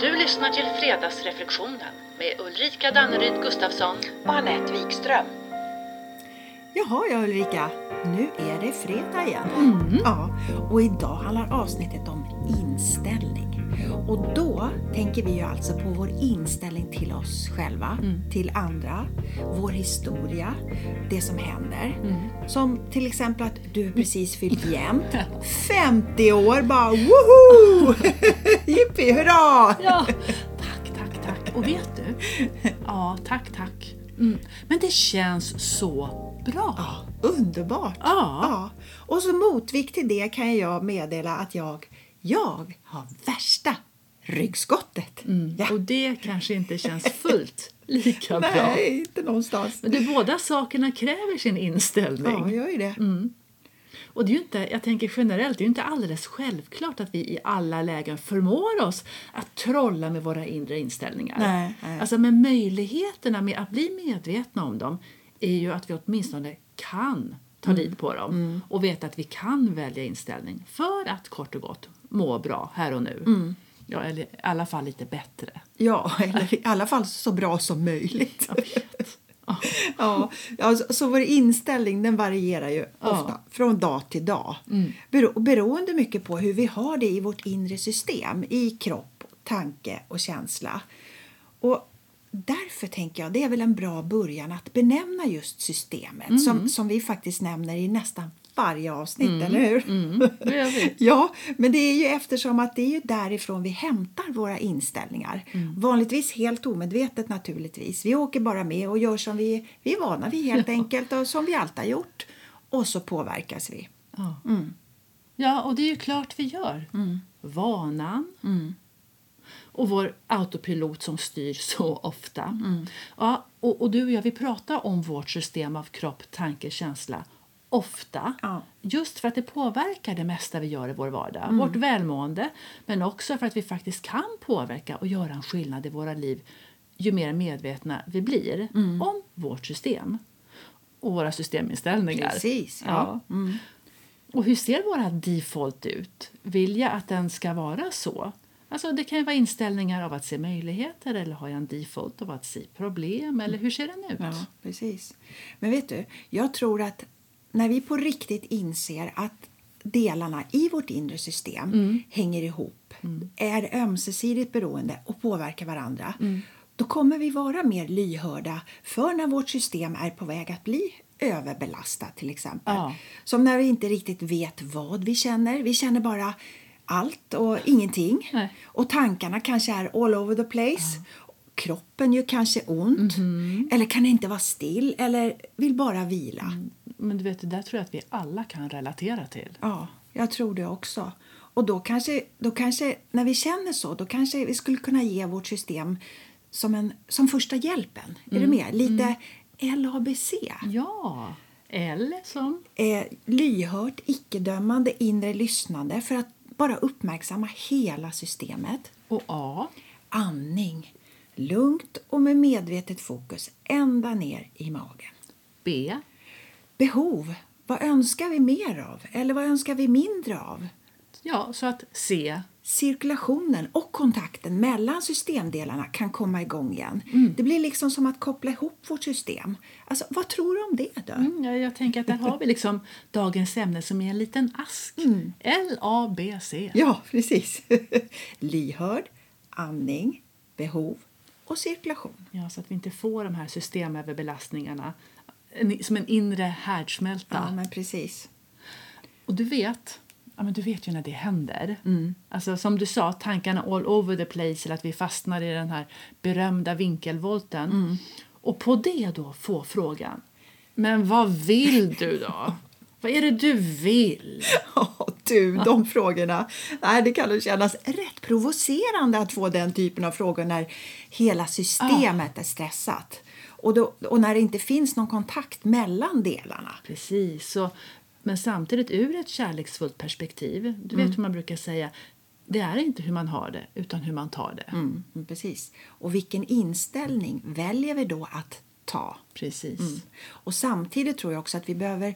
Du lyssnar till Fredagsreflektionen med Ulrika Danneryd Gustafsson. och Anette Wikström. Jaha ja Ulrika, nu är det fredag igen. Mm. Ja, och idag handlar avsnittet om inställning. Och då tänker vi ju alltså på vår inställning till oss själva, Mm. till andra, vår historia, det som händer. Mm. Som till exempel att du precis fyllt jämnt, 50 år bara woho! Jippi hurra! Ja, tack, tack, tack. Och vet du? Ja, tack, tack. Mm. Men det känns så bra. Ja, underbart! Ja. Ja. Och som motvikt till det kan jag meddela att jag, jag har värsta ryggskottet. Ja. Och det kanske inte känns fullt lika bra. Nej, inte någonstans. Men du, båda sakerna kräver sin Ja, inställning. gör ju det. Och det är ju inte, jag tänker generellt, det är ju inte alldeles självklart att vi i alla lägen förmår oss att trolla med våra inre inställningar. Nej, nej. Alltså, men möjligheterna med att bli medvetna om dem är ju att vi åtminstone kan ta Mm. lid på dem och veta att vi kan välja inställning för att kort och gott må bra här och nu. Mm. Ja, eller i alla fall lite bättre. Ja, eller i alla fall så bra som möjligt. Ja, ja, så- så vår inställning den varierar ju ofta från dag till dag. Mm. Bero, beroende mycket på hur vi har det i vårt inre system, i kropp, tanke och känsla. Och därför tänker jag det är väl en bra början att benämna just systemet Mm. som, som vi faktiskt nämner i nästan varje avsnitt, eller hur? Mm. det gör vi. Ja, men det är ju eftersom att det är ju därifrån vi hämtar våra inställningar. Mm. Vanligtvis helt omedvetet naturligtvis. Vi åker bara med och gör som vi, vi är vana vid helt enkelt och som vi alltid har gjort. Och så påverkas vi. Ja. ja, och det är ju klart vi gör. Mm. Vanan och vår autopilot som styr så ofta. Mm. Ja, och, och du och jag vi pratar om vårt system av kropp, tanke, känsla ofta. Ja. Mm. Just för att det påverkar det mesta vi gör i vår vardag. Vårt välmående, men också för att vi faktiskt kan påverka och göra en skillnad i våra liv ju mer medvetna vi blir Mm. om vårt system och våra systeminställningar. Precis, Ja. ja. Mm. Och hur ser våra default ut? Vill jag att den ska vara så? Alltså det kan ju vara inställningar av att se möjligheter eller har jag en default av att se problem eller hur ser den ut? Ja, precis. Men vet du, jag tror att när vi på riktigt inser att delarna i vårt inre system hänger ihop, är ömsesidigt beroende och påverkar varandra, då kommer vi vara mer lyhörda för när vårt system är på väg att bli överbelastat till exempel. Ja. Som när vi inte riktigt vet vad vi känner. Vi känner bara allt och ingenting. Nej. Och tankarna kanske är all over the place. Kroppen gör kanske ont. Mhm. Eller kan inte vara still. Eller vill bara vila. Mm. Men du vet, det där tror jag att vi alla kan relatera till. Ja, jag tror det också. Och då kanske, då kanske, när vi känner så, då kanske vi skulle kunna ge vårt system som, en, som första hjälpen. Är du Mm. med? Lite LABC. Ja, eller som... eh, lyhört, icke-dömande, inre lyssnande för att bara uppmärksamma hela systemet. Och A. Andning, lugnt och med medvetet fokus ända ner i magen. B. Behov, vad önskar vi mer av eller vad önskar vi mindre av? Ja, så att C. Cirkulationen och kontakten mellan systemdelarna kan komma igång igen. Det blir liksom som att koppla ihop vårt system. Alltså, vad tror du om det då? Mm, ja, jag tänker att där har vi liksom dagens ämne som är en liten ask. L, A, B, C. Ja, precis. Lyhörd, andning, behov och cirkulation. Ja, så att vi inte får de här systemöverbelastningarna en- som en inre härdsmälta. Ja, men precis. Och du vet, ja, men du vet ju när det händer. Alltså, som du sa, tankarna all over the place eller att vi fastnar i den här berömda vinkelvolten. Och på det då få frågan, men vad vill du då? vad är det du vill? Ja, du, de frågorna. Nej, det kan ju kännas rätt provocerande att få den typen av frågor när hela systemet är stressat. Och, då, och när det inte finns någon kontakt mellan delarna. Precis. Så, men samtidigt ur ett kärleksfullt perspektiv. Du vet hur man brukar säga, det är inte hur man har det utan hur man tar det. Mm, mm, precis. Och vilken inställning väljer vi då att ta? Precis. Mm. Och samtidigt tror jag också att vi behöver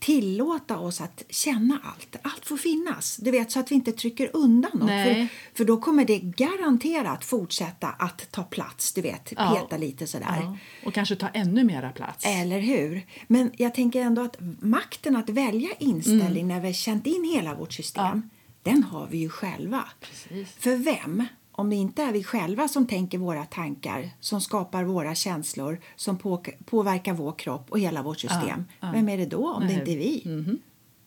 tillåta oss att känna allt. Allt får finnas, du vet, så att vi inte trycker undan något. Nej. För, för då kommer det garanterat fortsätta att ta plats, du vet, peta Ja. lite sådär. Ja. Och kanske ta ännu mera plats. Eller hur? Men jag tänker ändå att makten att välja inställning när vi har känt in hela vårt system, den har vi ju själva. Precis. För vem, om det inte är vi själva som tänker våra tankar, som skapar våra känslor, som påk- påverkar vår kropp och hela vårt system, vem är det då om det Nej. inte är vi?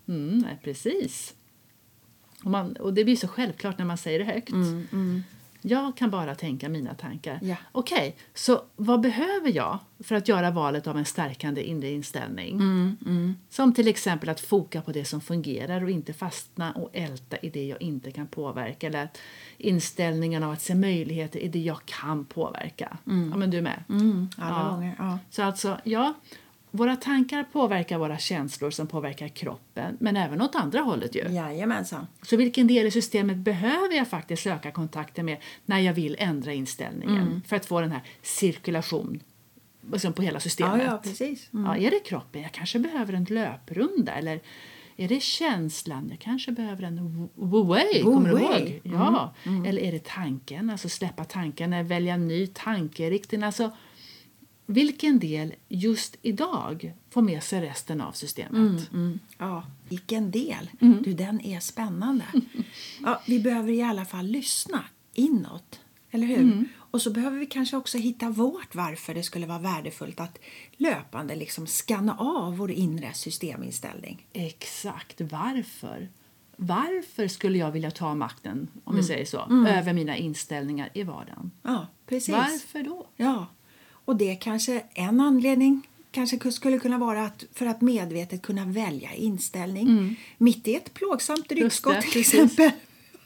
Mm, nej, precis. Och, man, och det blir så självklart när man säger det högt. Jag kan bara tänka mina tankar. Mm, Ja. Okej, så vad behöver jag för att göra valet av en stärkande inre inställning? Mm, Som till exempel att foka på det som fungerar och inte fastna och älta i det jag inte kan påverka. Eller att inställningen av att se möjligheter i det jag kan påverka. Ja, men du är med. Mm. alla gånger, ja. Så alltså, ja, våra tankar påverkar våra känslor som påverkar kroppen, men även åt andra hållet ju. Jajamensan. Så vilken del i systemet behöver jag faktiskt söka kontakten med när jag vill ändra inställningen Mm. för att få den här cirkulation liksom på hela systemet? Ja, ja, precis. Ja, är det kroppen? Jag kanske behöver en löprunda. Eller är det känslan? Jag kanske behöver en w- way. Kommer du Way. ihåg? Ja. Eller är det tanken? Alltså släppa tanken, välja en ny tankeriktning. Alltså, vilken del just idag får med sig resten av systemet? Ja, vilken del! Du, den är spännande. Ja, vi behöver i alla fall lyssna inåt, eller hur? Och så behöver vi kanske också hitta vårt varför det skulle vara värdefullt att löpande liksom skanna av vår inre systeminställning. Exakt varför? Varför skulle jag vilja ta makten, om vi säger så, över mina inställningar i vardagen? Ja, precis. Varför då? Ja, och det kanske en anledning kanske skulle kunna vara att för att medvetet kunna välja inställning mitt i ett plågsamt ryggskott Mm. det, till precis. exempel.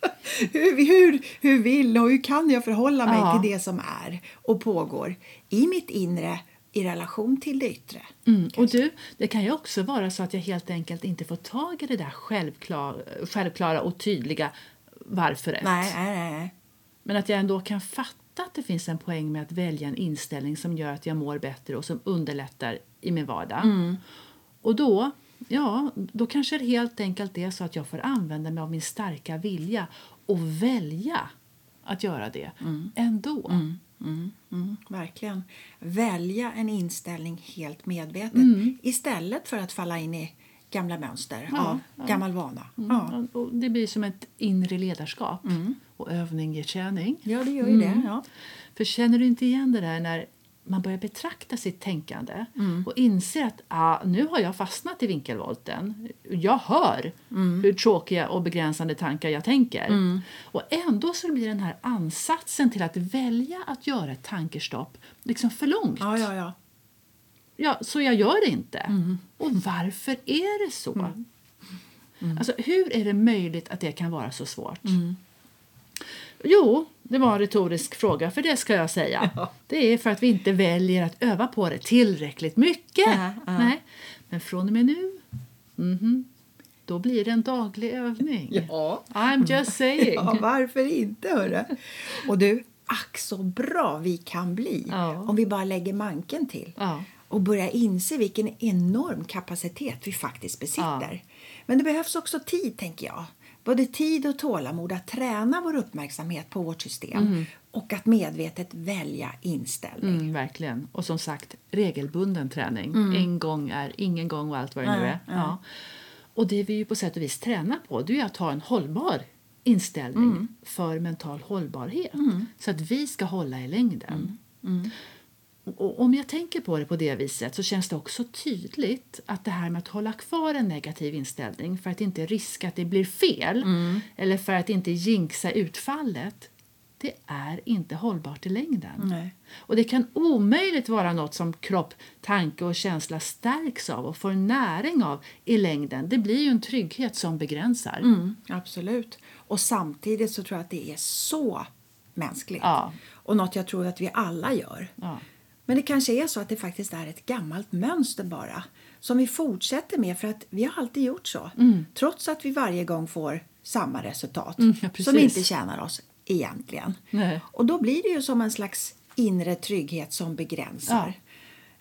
hur, hur, hur vill och hur kan jag förhålla mig Ja. till det som är och pågår i mitt inre i relation till det yttre? Mm. Och du, det kan ju också vara så att jag helt enkelt inte får tag i det där självklara, självklara och tydliga varföret. Nej, nej, nej, nej. Men att jag ändå kan fatta att det finns en poäng med att välja en inställning som gör att jag mår bättre och som underlättar i min vardag. Och då, ja, då kanske det helt enkelt är så att jag får använda mig av min starka vilja och välja att göra det ändå. Mm, verkligen. Välja en inställning helt medvetet Mm. istället för att falla in i gamla mönster, ja, gammal vana. Mm. Ja. Och det blir som ett inre ledarskap och övning ger träning. ja, det Mm. gör ju det. Ja. För känner du inte igen det där när man börjar betrakta sitt tänkande och inser att ah, nu har jag fastnat i vinkelvolten. Jag hör hur tråkiga och begränsande tankar jag tänker. Och ändå så blir den här ansatsen till att välja att göra ett tankestopp liksom för långt. Ja, ja, ja. Ja, så jag gör det inte. Mm. Och varför är det så? Mm. Alltså, hur är det möjligt att det kan vara så svårt? Jo, det var en retorisk fråga, för det ska jag säga. Det är för att vi inte väljer att öva på det tillräckligt mycket. Ja, ja. Nej. Men från och med nu, mhm, då blir det en daglig övning. Ja. I'm just saying. Ja, varför inte, hörru? Och du, ack så bra vi kan bli Ja. om vi bara lägger manken till Ja. och börjar inse vilken enorm kapacitet vi faktiskt besitter. Men det behövs också tid, tänker jag. Både tid och tålamod att träna vår uppmärksamhet på vårt system och att medvetet välja inställning. Mm, verkligen. Och som sagt, regelbunden träning. En gång är ingen gång och allt vad det nu Mm. Nej, är. Ja. Och det vi ju på sätt och vis tränar på det är ju att ha en hållbar inställning Mm. för mental hållbarhet. Så att vi ska hålla i längden. Mm. Och om jag tänker på det på det viset så känns det också tydligt att det här med att hålla kvar en negativ inställning för att inte riska att det blir fel eller för att inte jinxa utfallet det är inte hållbart i längden. Nej. Och det kan omöjligt vara något som kropp, tanke och känsla stärks av och får näring av i längden. Det blir ju en trygghet som begränsar. Mm, absolut. Och samtidigt så tror jag att det är så mänskligt. Ja. Och något jag tror att vi alla gör. Ja. Men det kanske är så att det faktiskt är ett gammalt mönster bara. Som vi fortsätter med för att vi har alltid gjort så. Mm. Trots att vi varje gång får samma resultat. ja, precis. som inte tjänar oss egentligen. Nej. Och då blir det ju som en slags inre trygghet som begränsar. Ja.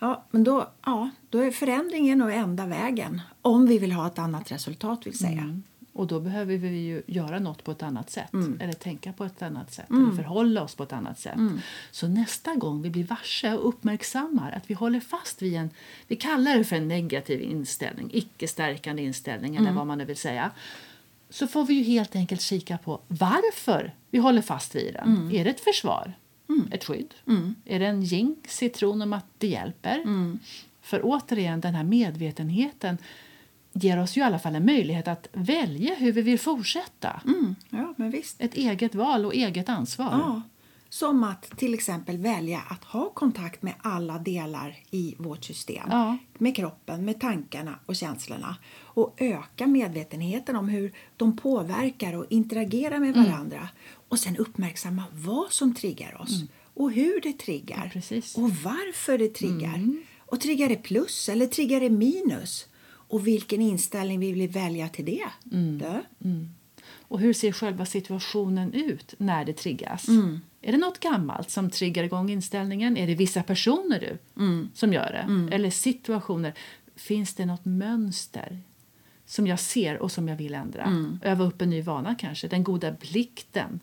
Ja, men då, ja, då är förändringen nog enda vägen om vi vill ha ett annat resultat vill säga. Mm. Och då behöver vi ju göra något på ett annat sätt eller tänka på ett annat sätt eller förhålla oss på ett annat sätt. Så nästa gång vi blir varse och uppmärksammar att vi håller fast vid en, vi kallar det för en negativ inställning, icke-stärkande inställning eller vad man nu vill säga. Så får vi ju helt enkelt kika på varför vi håller fast vid den. Är det ett försvar? Ett skydd? Är det en jing, citron om att det hjälper? För återigen, den här medvetenheten ger oss ju i alla fall en möjlighet att välja hur vi vill fortsätta. Mm, ja, men visst. Ett eget val och eget ansvar. Ja. Som att till exempel välja att ha kontakt med alla delar i vårt system. Ja. Med kroppen, med tankarna och känslorna. Och öka medvetenheten om hur de påverkar och interagerar med Mm. varandra. Och sen uppmärksamma vad som triggar oss. Och hur det triggar. Mm. Ja, precis. Mm. och varför det triggar. Och triggar det plus eller triggar det minus? Och vilken inställning vi vill välja till det. Mm. Dö. Och hur ser själva situationen ut när det triggas? Är det något gammalt som triggar igång inställningen? Är det vissa personer du som gör det? Eller situationer? Finns det något mönster som jag ser och som jag vill ändra? Öva upp en ny vana kanske? Den goda blikten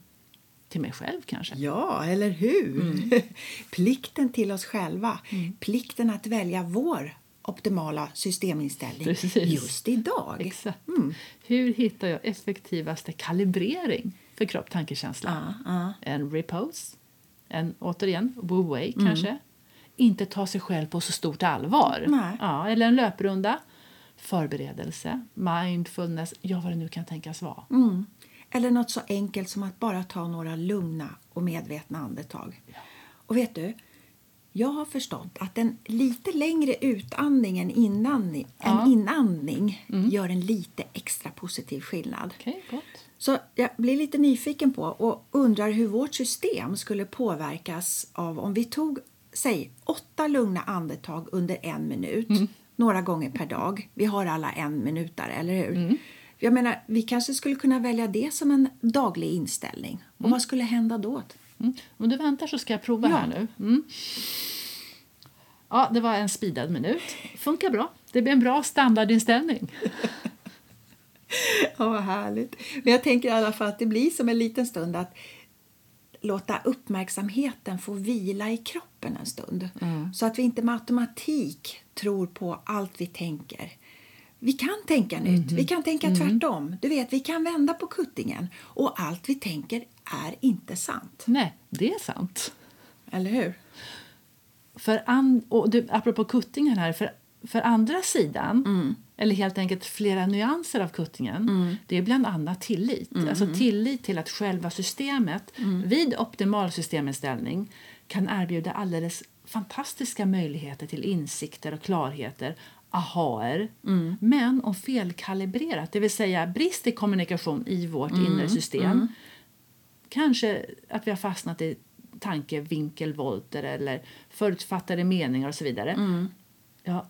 till mig själv kanske? Ja, eller hur? Mm. Plikten till oss själva. Plikten att välja vår optimala systeminställning Precis. just idag. Exakt. Mm. Hur hittar jag effektivaste kalibrering för kropp, tanke, känsla? Ja, ja. En repose, en återigen wu-wei Mm. kanske. Inte ta sig själv på så stort allvar. Nej. Ja, eller en löprunda. Förberedelse, mindfulness, ja vad det nu kan tänkas vara. Mm. Eller något så enkelt som att bara ta några lugna och medvetna andetag. Och vet du, jag har förstått att en lite längre utandning än inandning, Ja. Mm. en inandning gör en lite extra positiv skillnad. Okej, gott. Så jag blir lite nyfiken på och undrar hur vårt system skulle påverkas av om vi tog, säg, åtta lugna andetag under en minut några gånger per dag. Vi har alla en minutare, eller hur? Jag menar, vi kanske skulle kunna välja det som en daglig inställning. Och vad skulle hända då? Mm. Om du väntar så ska jag prova Ja. här nu. Mm. Ja, det var en speedad minut. Funkar bra. Det blir en bra standardinställning. Ja, vad härligt. Men jag tänker i alla fall att det blir som en liten stund att låta uppmärksamheten få vila i kroppen en stund. Så att vi inte med automatik tror på allt vi tänker. Vi kan tänka nytt, vi kan tänka tvärtom. Du vet, vi kan vända på kuttingen. Och allt vi tänker är inte sant. Nej, det är sant. Eller hur? För an, och du, apropå kuttingen här, för, för andra sidan, eller helt enkelt flera nyanser av kuttingen, det är bland annat tillit. Alltså tillit till att själva systemet vid optimal systeminställning kan erbjuda alldeles fantastiska möjligheter till insikter och klarheter ahaer, men om felkalibrerat, det vill säga brist i kommunikation i vårt inre system kanske att vi har fastnat i tankevinkelvolter eller förutfattade meningar och så vidare. Ja,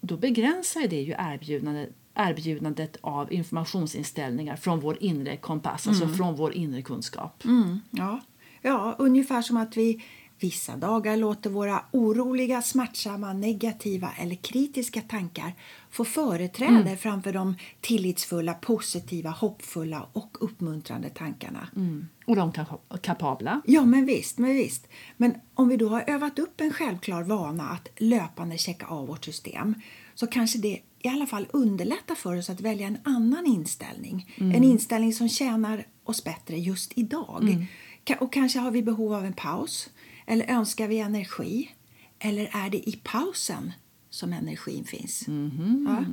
då begränsar det ju erbjudandet, erbjudandet av informationsinställningar från vår inre kompass, alltså från vår inre kunskap. Mm, ja. ja, ungefär som att vi vissa dagar låter våra oroliga, smärtsamma, negativa eller kritiska tankar få företräde framför de tillitsfulla, positiva, hoppfulla och uppmuntrande tankarna. Och de kan kapabla. Ja, men visst, men visst. Men om vi då har övat upp en självklar vana att löpande checka av vårt system så kanske det i alla fall underlättar för oss att välja en annan inställning. En inställning som tjänar oss bättre just idag. Ka- Och kanske har vi behov av en paus eller önskar vi energi eller är det i pausen som energin finns? Ja.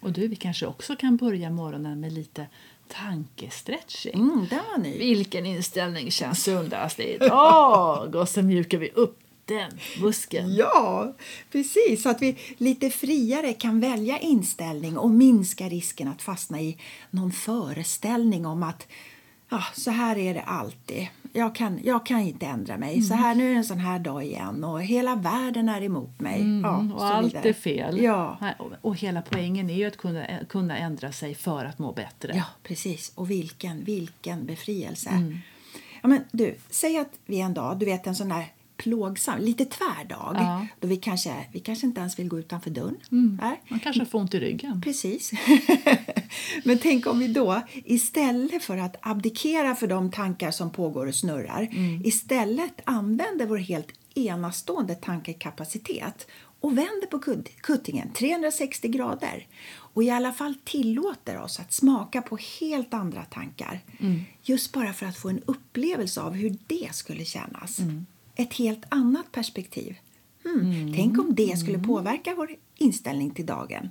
Och du, vi kanske också kan börja morgonen med lite tankestretching. Mm, där var ni. Vilken inställning känns sundast idag? Och så mjukar vi upp den muskeln. Ja, precis. Så att vi lite friare kan välja inställning och minska risken att fastna i någon föreställning om att ja, så här är det alltid. Jag kan, jag kan inte ändra mig. Så Mm. här, nu är det en sån här dag igen och hela världen är emot mig. ja, Mm, så och allt vidare. är fel. Ja. Nej, och- Och hela poängen är ju att kunna, kunna ändra sig för att må bättre. Ja, precis. Och Mm. vilken, vilken befrielse. Ja, men du, säg att vi en dag, du vet en sån där plågsam, lite tvärdag. Ja. Mm. Då vi, kanske, vi kanske inte ens vill gå utanför dörren. Nej. Man kanske får ont i ryggen. Precis. Men tänk om vi då istället för att abdikera för de tankar som pågår och snurrar istället använder vår helt enastående tankekapacitet och vänder på kud- kuttingen 360 grader och i alla fall tillåter oss att smaka på helt andra tankar. Just bara för att få en upplevelse av hur det skulle kännas. Ett helt annat perspektiv. Hmm. Tänk om det skulle påverka vår inställning till dagen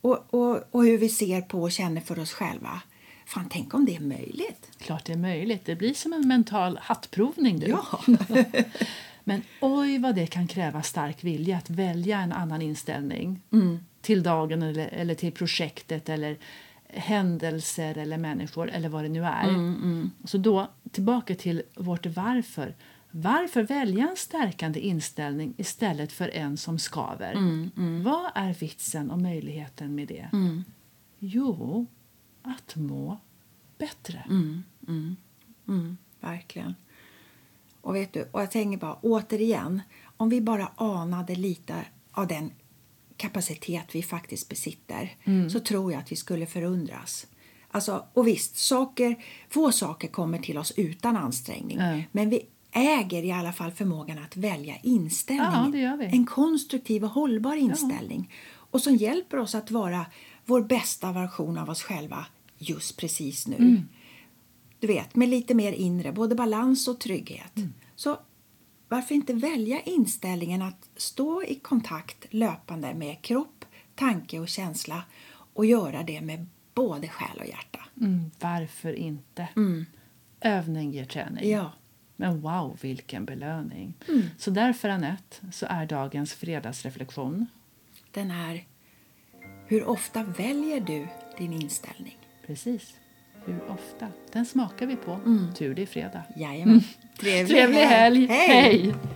och, och, och hur vi ser på och känner för oss själva. Fan, tänk om det är möjligt. Klart det är möjligt. Det blir som en mental hattprovning. Du. Ja. Men oj vad det kan kräva stark vilja att välja en annan inställning till dagen eller, eller till projektet eller händelser eller människor eller vad det nu är. Så då tillbaka till vårt varför. Varför välja en stärkande inställning istället för en som skaver? Vad är vitsen och möjligheten med det? Jo, att må bättre. Mm, verkligen. Och, vet du, och jag tänker bara återigen, om vi bara anade lite av den kapacitet vi faktiskt besitter Mm. så tror jag att vi skulle förundras. Alltså, och visst, saker, få saker kommer till oss utan ansträngning Ja. men vi äger i alla fall förmågan att välja inställning. Ja, det gör vi. En konstruktiv och hållbar inställning och som hjälper oss att vara vår bästa version av oss själva just precis nu Mm. du vet, med lite mer inre, både balans och trygghet. Så varför inte välja inställningen att stå i kontakt löpande med kropp, tanke och känsla och göra det med både själ och hjärta. Mm, varför inte? Övning ger träning. Mm. Ja. Mm. Men wow, vilken belöning! Så därför, Anette, så är dagens fredagsreflektion Den här, hur ofta väljer du din inställning? precis hur ofta. Den smakar vi på. Tur det är fredag. Jajamän. Mm. Trevlig, Trevlig helg! Hej. Hej.